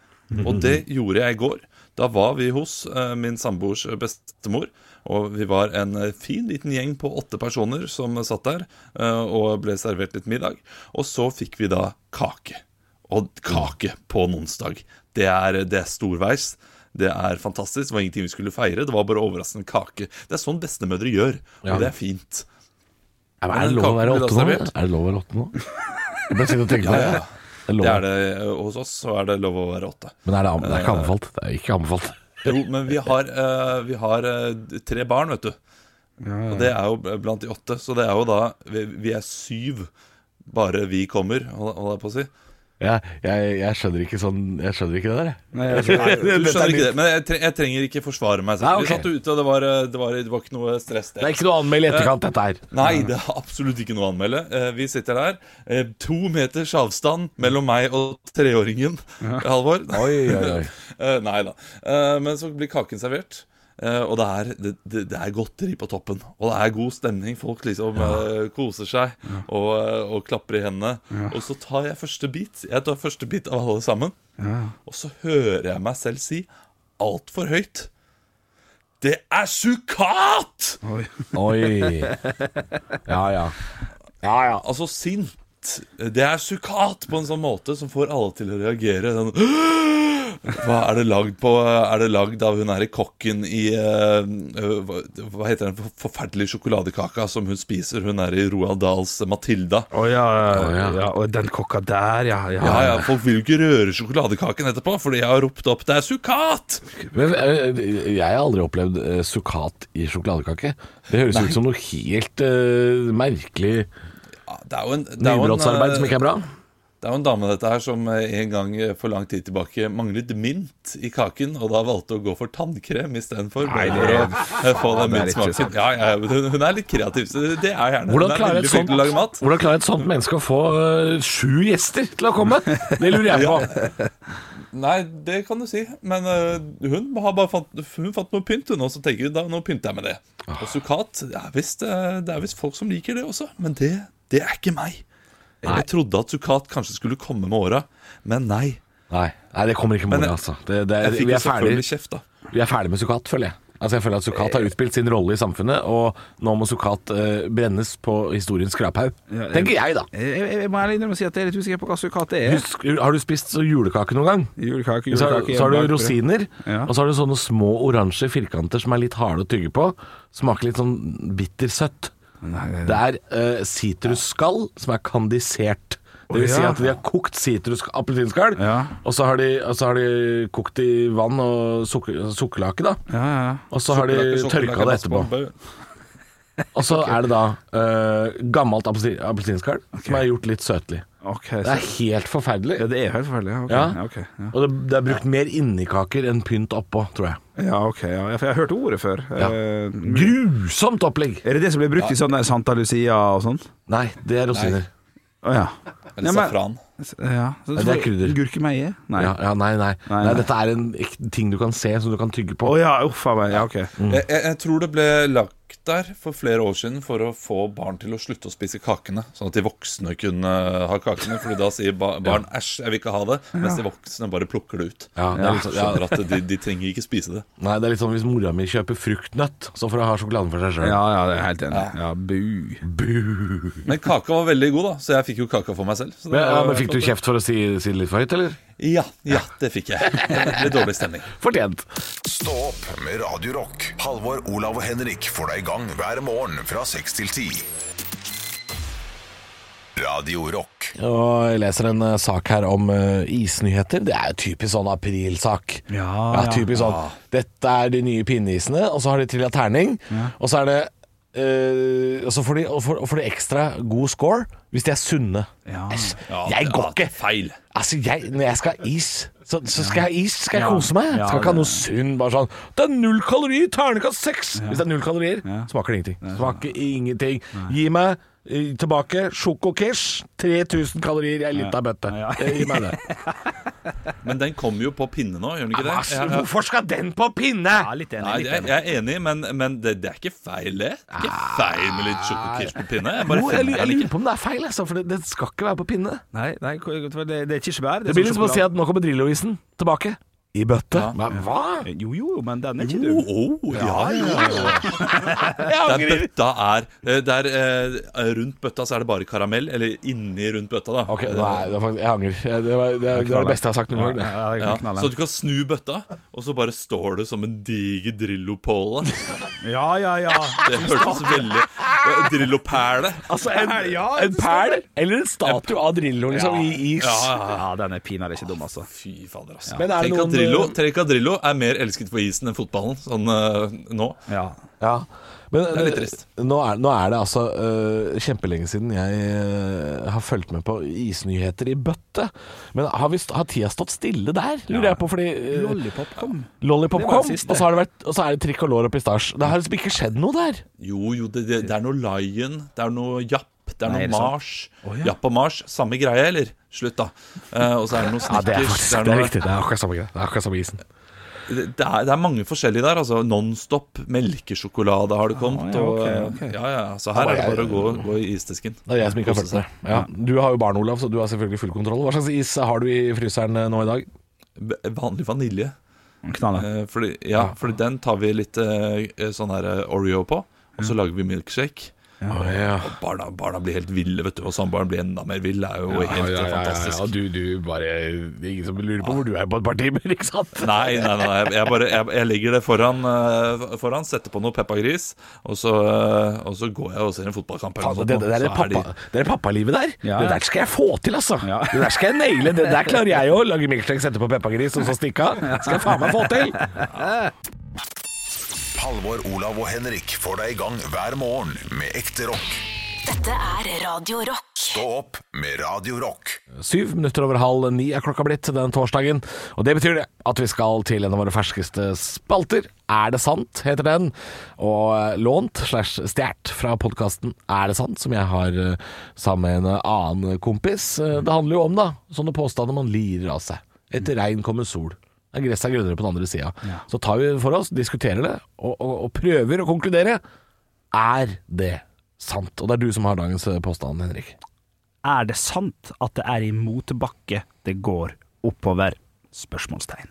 Og det gjorde jeg i går. Da var vi hos eh, min samboers bestemor. Og vi var en eh, fin liten gjeng på åtte personer som satt der eh, og ble servert litt middag. Og så fikk vi da kake. Og kake på en onsdag. Det er, det er storveis. Det er fantastisk. Det var ingenting vi skulle feire. Det var bare overraskende kake. Det er sånn bestemødre gjør, og
Ja.
det er fint.
Ja, men Er det lov å være åtte nå? Er det lov å være åtte nå? Jeg ble sittende og tenke på det.
Ja, ja.
Det er lov.
Det er det, eh, hos oss så er det lov å være åtte.
Men er det, an- det er ikke anbefalt. Det er ikke anbefalt.
Jo, men vi har, eh, vi har eh, tre barn, vet du. Og det er jo blant de åtte. Så det er jo da Vi, vi er syv, bare vi kommer, holder holder jeg på å si.
Jeg, jeg, jeg skjønner ikke sånn Jeg skjønner ikke det der, jeg.
Du skjønner ikke det, men jeg, tre, jeg trenger ikke forsvare meg selv.
Nei, ok.
Vi satt jo ute, og det var, eh, det var, det var ikke noe stress
Det
der.
er ikke noe å anmelde i etterkant, dette her.
Nei, det er absolutt ikke noe å anmelde. Eh, Vi sitter der. eh, To meters avstand mellom meg og treåringen Halvor. Eh, Nei da. Eh, Men så blir kaken servert. eh, Og det er, det, det det er godteri på toppen. Og det er god stemning. Folk liksom eh, koser seg og, eh, og klapper i hendene. Og så tar jeg første bit. Jeg tar første bit av alle sammen. Og så hører jeg meg selv si altfor høyt Det er sukkat!
Oi. Ja, ja. Ja, ja.
altså sint Det er sukkat på en sånn måte som får alle til å reagere sånn, Hva er det lagd på? Er det lagd av hun her kokken i eh, hva, hva heter den for- forferdelige sjokoladekaka som hun spiser? Hun er i Roald Dahls Matilda.
Å ja, ja,
Å, ja.
ja. Og den kokka der, ja. ja.
Ja, ja, Folk vil jo ikke røre sjokoladekaken etterpå, fordi jeg har ropt opp 'det er sukkat'!
Men, eh, jeg har aldri opplevd eh, sukkat i sjokoladekake. Det høres ut som noe helt eh, merkelig
Ja, det er jo en, det er jo en,
nybrottsarbeid
eh,
som ikke er bra.
Det er jo en dame dette her som eh, en gang eh, for lang tid tilbake manglet mynt i kaken, og da valgte å gå for tannkrem istedenfor.
Nei,
bare
det
For å
er-
eh, få den
det er ikke
myntsmaken.
sant.
Ja, ja, men hun- hun er litt kreativ. Så det det er gjerne.
Hvordan
hun er
klarer,
veldig
et
flink
sånt,
til å lage mat.
hvordan klarer et sånt menneske å få øh, sju gjester til å komme? Det lurer jeg på.
Nei, det kan du si. Men eh, hun har bare fant, hun fant noe pynt, hun, og så tenker hun da nå pynter jeg med det.
Ah.
Og sukkat det er visst, eh, det er visst folk som liker det også, men det, det er ikke meg. Jeg trodde at sukkat kanskje skulle komme med åra, men nei.
Nei, nei det kommer ikke med
Men
ordet, altså. Det, det,
Jeg
vi,
fikk jo
er ferdig,
selvfølgelig kjeft, da.
vi er ferdig med Sukat, føler jeg. Altså Jeg føler at Sukat har utspilt sin rolle i samfunnet, og nå må Sukat øh, brennes på historiens skraphaug.
Ja, jeg-
Tenker jeg, da.
Jeg, jeg, jeg må ærlig innrømme å si at jeg er litt usikker på hva sukkat er.
Husk, har du spist så julekake noen gang?
Julekake,
Så, har-
julekake
så har
hjemmebakt,
du rosiner,
Ja.
og så har du sånne små oransje firkanter som er litt harde å tygge på. Smaker litt sånn bittersøtt.
Nei, det-
Det er eh, sitrusskall som er kandisert. Det vil
Å,
si
ja.
at de har kokt sitrus appelsinskall,
Ja.
og, så har de- og så har de kokt i vann og sukker, sukkerlake, da.
Ja, ja, ja.
Og så har de
Sukkerlake, sukkerlake,
tørka det etterpå.
massebombe.
Og så er det da eh, gammelt appelsin- appelsinskall som er gjort litt søtlig.
Ok,
Det
så,
er helt forferdelig.
ja, det er helt forferdelig. Ja, ok.
Ja.
Ja, ok, ja.
Og det, det er brukt mer inni kaker enn pynt oppå, tror jeg.
ja, ok. Ja, for jeg har hørt ordet før.
Ja.
Eh,
Grusomt opplegg!
Er det det som blir brukt i sånne Santa Lucia og sånn?
Nei, det er rosiner.
Å ja.
Eller
Ja, men-
safran.
ja. Så,
Nei, det er krydder.
Gurkemeie? Nei. Å
Ja,
ja.
ja, nei, nei.
Nei,
nei,
nei.
Dette er en ek- ting du kan se, som du kan tygge på.
uff a meg. Ja, ok.
Mm.
Jeg, jeg, jeg tror det ble lagt der for flere år siden for å få barn til å slutte å spise kakene. Sånn at de voksne kunne ha kakene. Fordi da sier ba barn 'æsj, jeg vil ikke ha det', mens de voksne bare plukker det ut.
Ja, det er litt sånn- ja.
Skjønner at de, de trenger ikke spise det.
Nei, det er litt sånn Hvis mora mi kjøper fruktnøtt, så får hun ha sjokoladen for seg sjøl.
Ja, ja, det er jeg helt enig. Ja, bu.
Men kaka var veldig god, da, så jeg fikk jo kaka for meg selv. Så det
Men, ja,
var-
men Fikk du kjeft for å si, si det litt for høyt, eller?
Ja, ja, det fikk jeg. Det ble dårlig stemning.
Fortjent.
Stå opp med Radio Rock. Halvor, Olav og Henrik får deg i gang hver morgen fra 6 til 10. Radio Rock.
Og jeg leser en eh, sak her om eh, isnyheter. Det er jo typisk sånn aprilsak.
Ja, ja.
typisk sånn. Dette er de nye pinneisene, og så har de trilla terning. Og så er det eh, og så får de, og får, og får de ekstra god score hvis de er sunne.
Ja.
Æsj, jeg går ikke!
Feil.
Altså, jeg, når jeg skal ha is, så, så skal jeg ha is. Skal jeg
Ja.
kose meg?
Ja,
skal ikke ha
det-
noe sunn, bare sånn Det er null kalorier, terningkast seks! Hvis det er null kalorier,
Ja.
smaker det ingenting. Smaker ingenting. Gi meg eh, tilbake sjokokish. 3000 kalorier i ei lita bøtte.
Ja.
Eh, Gi meg det.
Men den kommer jo på pinne nå, gjør den ikke det?
Ass,
Ja, ja.
hvorfor skal den på pinne?
litt
Nei, jeg, jeg er enig, men, men det, det er ikke feil, det. Det er ikke feil med litt sjokokirs på pinne. Jeg bare
Ah. Jo, jeg,
finner
lurer-
den
jeg
ikke.
lurer på om det er feil, altså, for det, det skal ikke være på pinne.
Nei, nei, det det er kirsebær.
Det blir litt som å si at nå kommer Drillo-isen tilbake. I bøtte.
Ja.
Men hva?
Jo, jo, men den er ikke
Å,
dum.
å, Oh, ja, ja, ja. Der bøtta er eh, der, eh, Rundt bøtta så er det bare karamell, eller inni rundt bøtta, da.
Ok, nei, det er faktisk, jeg angrer. Det var det, var- det, var det beste jeg har sagt noen gang. det.
Ja, jeg
Ja,
kan knalle
så du kan snu bøtta, og så bare står det som en diger Drillo-påle.
den. Ja, ja, ja.
Det hørtes veldig eh, Drillo-perle.
Altså en,
Ja,
en perl eller en statue av Drillo liksom, i is.
Ja, ja, ja.
Ja, den er pinadø ikke dum, altså.
Fy fader, altså.
Men er det
Tenk at
noen- eh,
Drillo, tenk at Drillo er mer elsket på isen enn fotballen sånn eh, nå.
Ja.
Ja. Men
er litt trist.
eh, nå er, nå er det altså eh, kjempelenge siden jeg eh, har fulgt med på isnyheter i bøtte. Men har, vi, st- har tida stått stille der, lurer jeg på, fordi eh,
Lollipop kom. Det
Lollipop
var
kom,
det
og
siste.
så, har det vært, og så er det tricolor og pistasje. Det har liksom ikke skjedd noe der.
Jo, jo, det, det, det er noe Lion, det er noe Japp, det er
Nei,
noe
er det sant?
Mars. Japp og Mars, samme greie, eller? Slutt, da. Eh, og så er det noe Snickers. noe-
Det er akkurat samme greie. Det er akkurat samme isen.
det, det er, det er mange forskjellige der. altså Nonstop melkesjokolade
Ah,
har det kommet.
ja,
og,
ok, ok.
Ja, ja, så her er det bare å gå, gå i isdisken.
Det er jeg som ikke har fulgt med. Ja. Du har jo barn, Olav, så du har selvfølgelig full kontroll. Hva slags is har du i fryseren eh, nå i dag?
B- Vanlig vanilje.
Knalle.
Eh, Fordi, ja, fordi den tar vi litt eh, sånn her eh, Oreo på, og
Mm.
så lager vi milkshake. Og barna, barna blir helt ville, vet du. Og samboeren blir enda mer vill. Det er jo helt eh, fantastisk.
du, bare Det er ingen som lurer på hvor du er på et par timer, ikke sant?
Nei, nei, nei, jeg- jeg, bare, jeg, jeg legger det foran, eh, foran setter på noe Peppa Gris, og så, eh, og så går jeg og ser en fotballkamp. eller noe sånt,
det, det, der
så
er pappa,
de-
det er pappalivet der.
Ja, ja.
Det der skal jeg få til, altså.
Ja.
Det der skal jeg naile. Det der klarer jeg òg. Lage milkshake, sette på peppergris og så stikke av. Det skal jeg faen meg få til.
Halvor, Olav og Henrik får deg i gang hver morgen med ekte rock.
Dette er Radio Rock.
Stå opp med Radio Rock.
Syv minutter over halv ni er klokka blitt den torsdagen. Og det betyr det at vi skal til en av våre ferskeste spalter. Er det sant, heter den. Og eh, lånt slash stjålet fra podkasten Er det sant, som jeg har eh, sammen med en annen kompis. Eh, Det handler jo om da, sånne påstander man lirer av seg. Etter regn kommer sol. Ja, Gresset er grønnere på den andre sida. Så tar vi for oss, diskuterer det, og, og, og prøver å konkludere. Er det sant? Og det er du som har dagens eh, påstand, Henrik.
Er det sant at det er i motbakke det går oppover? Spørsmålstegn.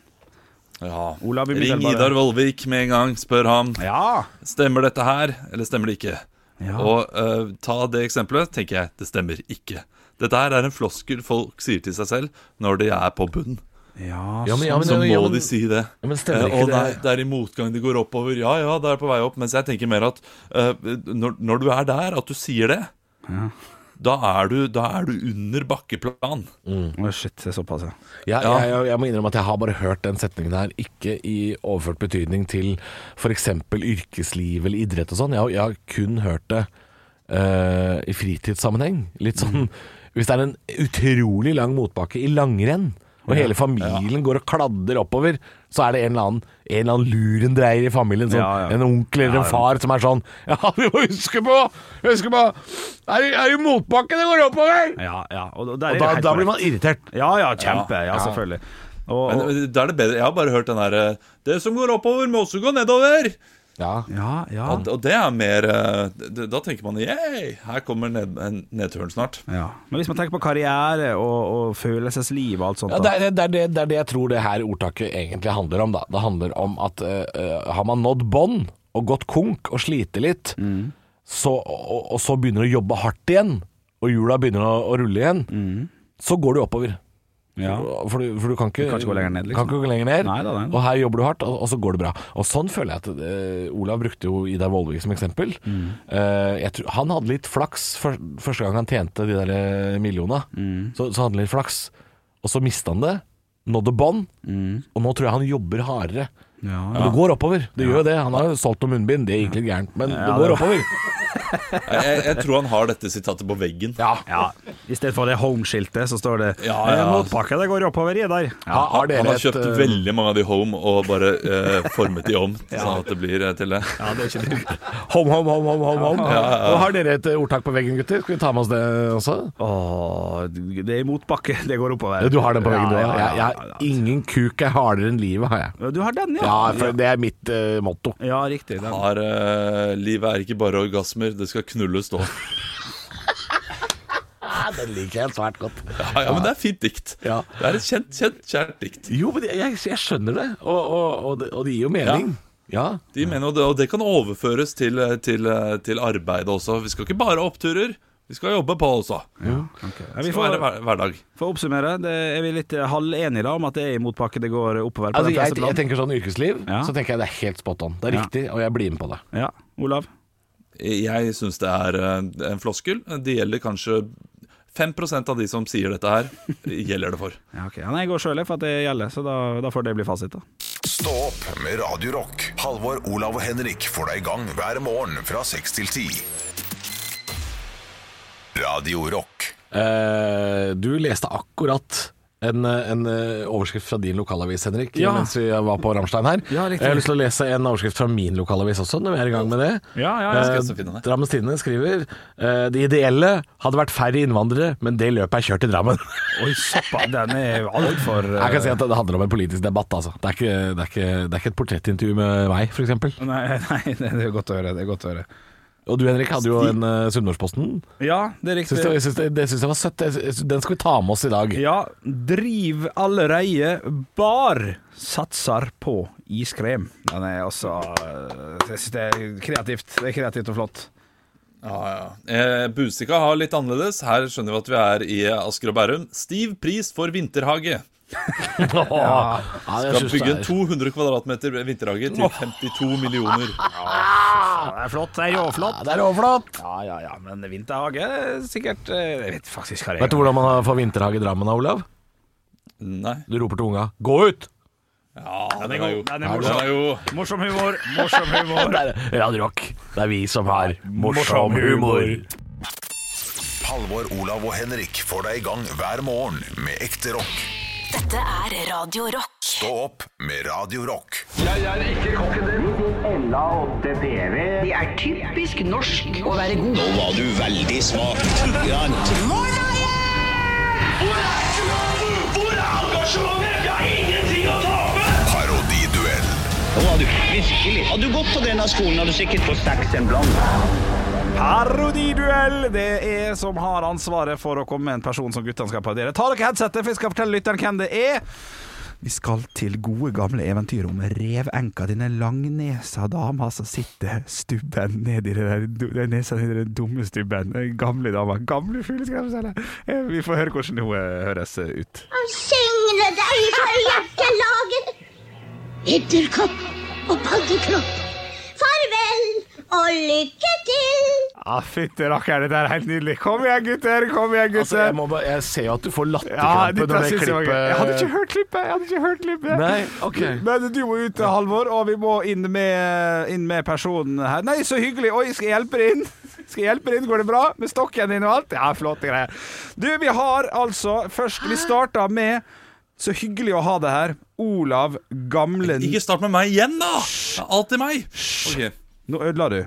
Ja.
Olav, vi begynner
Ring
bare-
Idar Vollvik med en gang. Spør ham
Ja!
Stemmer dette her, eller stemmer det ikke.
Ja.
Og eh, ta det eksempelet, tenker jeg. Det stemmer ikke. Dette her er en floskel folk sier til seg selv når de er på bunnen.
ja.
Ja, men- ja, men-
så må
ja, men-
de si det.
Ja, men stemmer
Eh,
ikke
og
det?
nei, det er i motgang det går oppover. Ja, ja, det er på vei opp. Mens jeg tenker mer at eh, når, når du er der, at du sier det, da, er du, da er du under bakkeplan.
Å, shit, det er såpass, ja.
Jeg,
Ja.
jeg, jeg må innrømme at jeg har bare hørt den setningen her, ikke i overført betydning til f.eks. yrkesliv eller idrett og sånn. Jeg, har- jeg har kun hørt det eh, i fritidssammenheng. Litt sånn
Mm.
Hvis det er en utrolig lang motbakke i langrenn, og hele familien går og kladder oppover, så er det en eller annen, en eller annen lurendreier i familien. Sånn,
Ja, ja.
En onkel eller en far som er sånn Ja, vi må huske på! Huske på! Er det er det motbakke det går oppover?
ja, ja. Og, og der er det
Og da,
helt
da blir
korrekt.
man irritert.
Ja, ja, kjempe. Ja, selvfølgelig. Og,
Men
og,
eh, da er det bedre. Jeg har bare hørt den derre Det som går oppover, må også gå nedover.
Ja.
ja, ja.
Og, og det er mer eh, d- Da tenker man yeah, her kommer ned, en nedturen snart.
ja. Men hvis man tenker på karriere og, og følelsesliv og alt sånt
Ja,
da.
det, er, det, er det, det er det jeg tror det her ordtaket egentlig handler om. Da. Det handler om at eh, eh, har man nådd bånd og gått konk og sliter litt,
Mm.
så, og, og så begynner å jobbe hardt igjen, og hjula begynner å, å rulle igjen,
Mm.
så går du oppover. For, du, for du kan ikke,
kan ikke gå lenger ned, liksom.
kan ikke gå lenger ned.
Nei da, nei da.
Og her jobber du hardt, og, og så går det bra. Og sånn føler jeg at eh, Olav brukte jo Idar Vollvik som eksempel.
Mm.
Eh, jeg tror, han hadde litt flaks før- første gang han tjente de der eh, millionene.
Mm,
Så, så hadde han litt flaks, og så mista han det. Nådde bånd, og nå tror jeg han jobber hardere.
mm. Ja,
Men det går oppover. Det gjør jo det. Han har jo solgt noen munnbind, det gikk litt gærent, men det går oppover.
Jeg, jeg, jeg tror han har dette sitatet på veggen.
Ja.
Ja, I stedet for det home-skiltet, så står det "Eh,
Ja, ja.
Motbakke, det går oppover i der.
Ha- har dere
Han har
et,
kjøpt
eh,
veldig mange av de home og bare eh, formet de om, sånn at det blir eh, til det.
Hom, hom, hom, hom, hom, hom. Og har dere et eh, ordtak på veggen, gutter? Skal vi ta med oss det også?
Åh, det er i motbakke, det går oppover.
Ja, Du har den på veggen, du
Ja,
òg.
ja,
Jeg, jeg
ja,
har ingen kuk er hardere enn livet, har jeg.
ja. Du har den, ja.
Ja, for det er mitt eh, motto.
ja riktig. Den.
Har, eh, livet er ikke bare orgasmer, det skal knulles da.
Den liker jeg svært godt.
Ja, ja, men det er fint dikt.
Ja.
Det er et kjent, kjent, kjært dikt.
Jo, men jeg, jeg, jeg skjønner det, og, og, og, det, og det gir jo mening. Ja.
De mener, og, det, og det kan overføres til, eh, til, eh, til arbeidet også. Vi skal ikke bare ha oppturer, vi skal jobbe på også.
Ja,
Det
vi
skal
får,
være hver, hverdag.
får oppsummere. Det er vi litt eh, halvenige da om at det er i motbakke, det går oppover. På
Altså,
de
jeg,
fleste
jeg
plan.
tenker sånn yrkesliv,
Ja.
så tenker jeg det er helt spot on. Det er
Ja.
riktig, og jeg blir med på det.
Ja, Olav.
Jeg syns det er eh, en floskel. Det gjelder kanskje 5 av de som sier dette her, gjelder det for.
Ja, ok. ja, nei, jeg går sjøl, for at det gjelder, så da, da får det bli fasit. da
Stå opp med Radio Rock. Halvor, Olav og Henrik får deg i gang hver morgen fra 6 til 10. Radio Rock.
Eh, du leste akkurat en, eh, en eh, overskrift fra din lokalavis, Henrik,
Ja.
mens vi var på Ramstein her. Eh,
Ja, riktig.
jeg har lyst til å lese en overskrift fra min lokalavis også, når vi er i gang med det.
Ja, ja, jeg skal
Eh,
også finne det.
Drammens Tidende skriver eh, Det ideelle hadde vært færre innvandrere, men det løpet er kjørt i Drammen.
Oi, såpass. Den er altfor
Jeg kan si at det handler om en politisk debatt, altså. Det er ikke, det er ikke, det er ikke et portrettintervju med meg, f.eks.
eh, Nei, nei, det er godt å høre. Det er godt å høre.
Og du, Henrik, hadde jo en uh, Sunnmørsposten.
Ja, det er riktig.
Syns det, jeg syns det, det syns jeg var søtt. Jeg syns- Den skal vi ta med oss i dag.
Ja, driv allereie bar satser på iskrem. Den er også eh, Jeg synes det er kreativt. Det er kreativt og flott.
Ja, ja. Eh, Busika har litt annerledes. Her skjønner vi at vi er i Asker og Bærum. Stiv pris for vinterhage.
Ja, jeg
Skal
syns
bygge
det
en
er-
200 kvadratmeter vinterhage til 52 millioner.
Ja, det er flott. Det er
Ja,
råflott.
det er overflott!
Ja, ja, ja, men vinterhage er sikkert eh, Jeg vet faktisk hva det
Vet du
er.
hvordan man får vinterhage i Drammen da, Olav?
Nei.
Du roper til unga 'gå ut'!
Ja, den er jo
Den
Den
er
er
morsom.
jo
Morsom humor. Morsom humor.
Det er Radio Rock. Det er vi som har morsom
humor.
humor.
Halvor, Olav og Henrik får deg i gang hver morgen med ekte rock.
Dette er Radio Rock.
Stå opp med Radio Rock. Parodiduell.
Parodiduell! Det er som har ansvaret for å komme med en person som guttene skal parodiere. Ta dere headsetet, for jeg skal fortelle lytteren hvem det er. Vi skal til gode, gamle eventyr om revenka, denne langnesa dama som sitter stubben ned i den der- den nesa ned i den dumme stubben. Den Gamle dama. Gamle fugleskremsele. Eh, Vi får høre hvordan hun eh, høres ut.
Signe deg for jakkelaget, edderkopp og paddekropp. Farvel og lykke til.
Ah, Fytti rakkeren, dette er helt nydelig. Kom igjen, gutter! Kom igjen,
Altså, jeg,
gutter!
må bare, jeg ser jo at du får
Ja,
latterkrampe
dette
når det
synes jeg var gøy. Jeg hadde ikke
klippet
hørt klippet! Jeg hadde ikke hørt klippet.
Nei, ok.
Men du må ut, eh, Halvor, og vi må inn med, inn med personen her. Nei, så hyggelig! Oi, skal jeg hjelpe deg inn? Skal jeg hjelpe deg inn? Går det bra? Med stokken din og alt? Ja, flotte greier. Du, vi har altså først Vi starta med Så hyggelig å ha deg her, Olav Gamlen
Ikke start med meg igjen, da! Det er alltid meg. Ok.
Nå ødela du.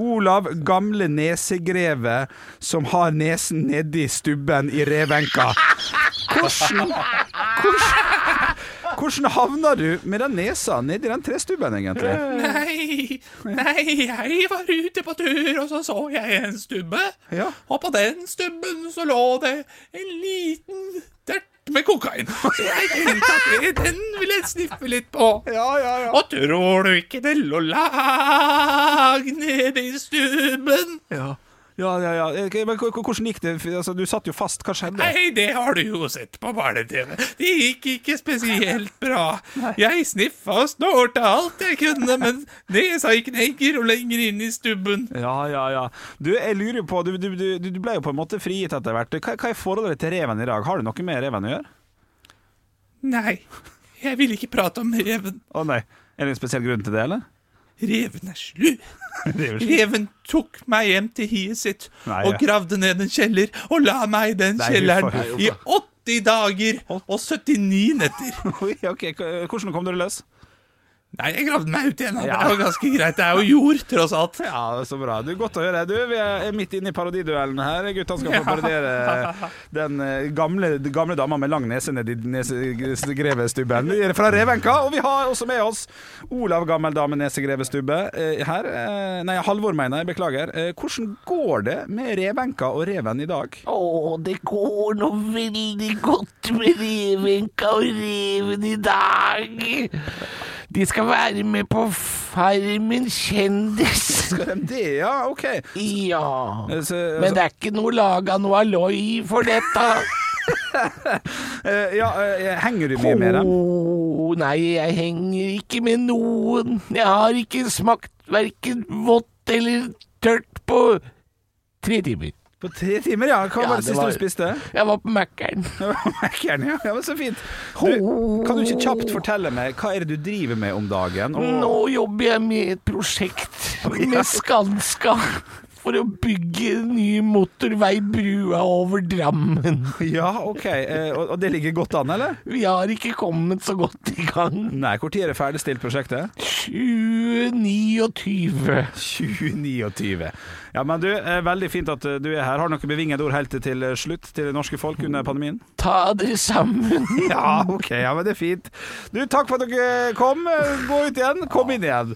Olav Gamle Nesegreve som har nesen nedi stubben i revenka. Hvordan Hvordan, hvordan havna du med den nesa nedi den trestubben, egentlig?
Nei, nei, jeg var ute på tur, og så så jeg en stubbe.
Ja.
Og på den stubben så lå det en liten dert med kokain. Så jeg tenkte at det, den ville jeg sniffe litt på.
Ja, ja, ja.
Og tror du ikke det lå lag nede i stubben?
ja, ja, ja. Ok, Men h- h- hvordan gikk det? F- Altså, du satt jo fast. Hva skjedde?
Nei, det har du jo sett på barne-TV. Det gikk ikke spesielt bra. Jeg sniffa og snorta alt jeg kunne, men nesa gikk lenger og lenger inn i stubben.
Ja, ja, ja. Du, jeg lurer jo på Du, du, du, du ble jo på en måte frigitt etter hvert. Hva, hva er forholdet ditt til reven i dag? Har du noe med reven å gjøre?
Nei, jeg vil ikke prate om reven.
Å nei. Er det en spesiell grunn til det, eller?
Reven er slu.
Det er jo slik.
Reven tok meg hjem til hiet sitt
Nei,
og
ja.
gravde ned en kjeller og la meg i den
Nei,
kjelleren
huffa, huffa.
i 80 dager og 79 netter.
Oi, ok, H- Hvordan kom dere løs?
Nei, jeg gravde meg ut igjen. da, men
Ja.
Det var ganske greit. Det er jo jord, tross alt.
Ja, det er så bra. Du, Godt å høre. Du, Vi er midt inne i parodiduellen her. Guttene skal få parodiere den eh, gamle, gamle dama med lang nese nedi nesegrevestubben fra Revenka. Og vi har også med oss Olav Gammel Dame Nesegrevestubbe eh, her. Eh, Nei, Halvor, mener jeg. Beklager. Eh, Hvordan går det med Revenka og reven i dag?
Å, det går nå veldig godt med revenka og reven i dag. De skal være med på Farmen kjendis.
Skal de det, ja? OK.
Ja.
Eh, Så,
Men det er ikke noe laga noe aloi for dette.
eh, ja, eh, henger du mye med dem?
Å, Oh, nei, jeg henger ikke med noen. Jeg har ikke smakt verken vått eller tørt på tre timer.
På tre timer, ja. Hva
Ja,
var det
det
siste
var-
du spiste?
Jeg var på Mækkern.
Gjerne, ja. ja, men så fint. Du, kan du ikke kjapt fortelle meg hva er det du driver med om dagen? Og-
Nå jobber jeg med et prosjekt med Skanska for å bygge en ny motorveibrua over Drammen.
Ja, ok. Eh, og, og det ligger godt an, eller?
Vi har ikke kommet så godt i gang.
Nei, når er det ferdigstilt prosjektet?
2029.
2029. Ja, men du, eh, veldig fint at eh, du er her. Har du noen bevingede ord helt til eh, slutt til det norske folk under pandemien?
Ta dere sammen.
Ja, ok, ja, men det er fint. Du, takk for at dere kom. Eh, Gå ut igjen, kom inn igjen.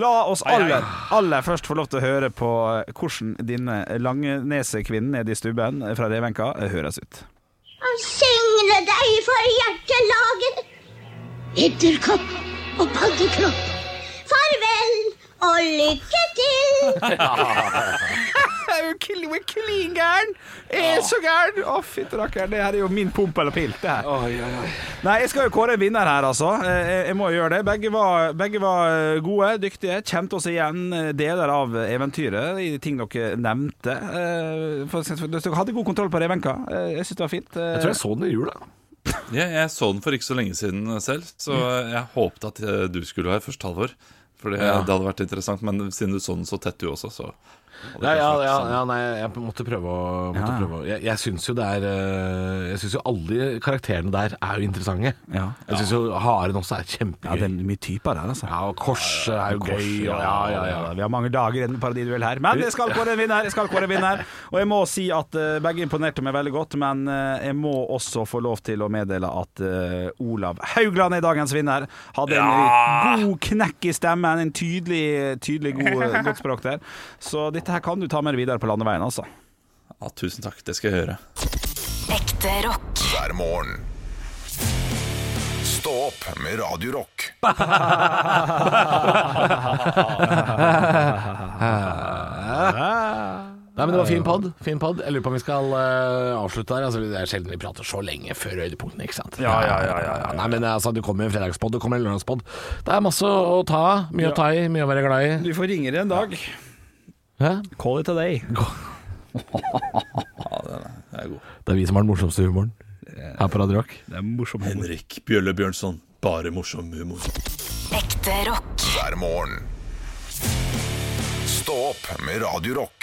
La oss aller, aller først få lov til å høre på eh, hvordan denne langnesekvinnen nede i stubben eh, fra Revenka eh, høres ut.
Signe deg for hjertelaget, edderkopp og paddekropp. Farvel og lykke til.
Jeg er jo kli- jeg er klin gæren! Jeg er så gæren! Å, fytti rakkeren, det her er jo min pomp eller pilt, det her. Nei, jeg skal jo kåre en vinner her, altså. Eh, Jeg, jeg må jo gjøre det. Begge var, begge var eh, gode, dyktige. Kjente oss igjen eh, deler av eventyret i ting dere nevnte. Eh, For, for, dere hadde god kontroll på Revenka. Eh, Jeg syns det var fint.
Jeg tror jeg så den i jula.
Ja, jeg så den for ikke så lenge siden selv, så jeg håpet at eh, du skulle ha først, Halvor. For det, det hadde vært interessant, men siden du så den så tett du også, så
Ja, ja, ja, ja, nei, jeg måtte prøve å, måtte prøve å Jeg, jeg syns jo det er eh, Jeg syns jo alle de karakterene der er jo interessante. Jeg syns jo haren også er
Ja, det
kjempegøy.
er mye typer der, altså.
Ja, og korset er jo gøy. og Ja, ja, ja.
Vi har mange dager i en paradiduell her, men jeg skal kåre en vinner. Jeg skal kåre en vinner Og jeg må si at eh, begge imponerte meg veldig godt, men eh, jeg må også få lov til å meddele at eh, Olav Haugland er dagens vinner. Hadde en god knekk i stemmen, en tydelig, tydelig god, eh, godt språk der. Så dette her kan du ta med deg videre på landeveien, altså.
Ja, tusen takk, det skal jeg høre.
Ekte rock.
hver morgen. Stå opp med Radio Rock.
Nei, men Det var fin pod. Fin pod. Jeg lurer på om vi skal eh, avslutte her. Altså, det er sjelden vi prater så lenge før høydepunktene, ikke sant? Ja, ja, ja, Nei, men altså, Det kommer en fredagspod, det kommer en lørdagspod. Det er masse å ta av. Mye å ta i, mye å være glad i.
Du får ringe det en dag.
Hæ?
Call it a day.
Det er vi som har den morsomste humoren her på Radio Rock.
Det er morsomt.
Henrik Bjølle Bjørnson, bare morsom humor.
Ekte rock.
hver morgen. Stå opp med Radio Rock.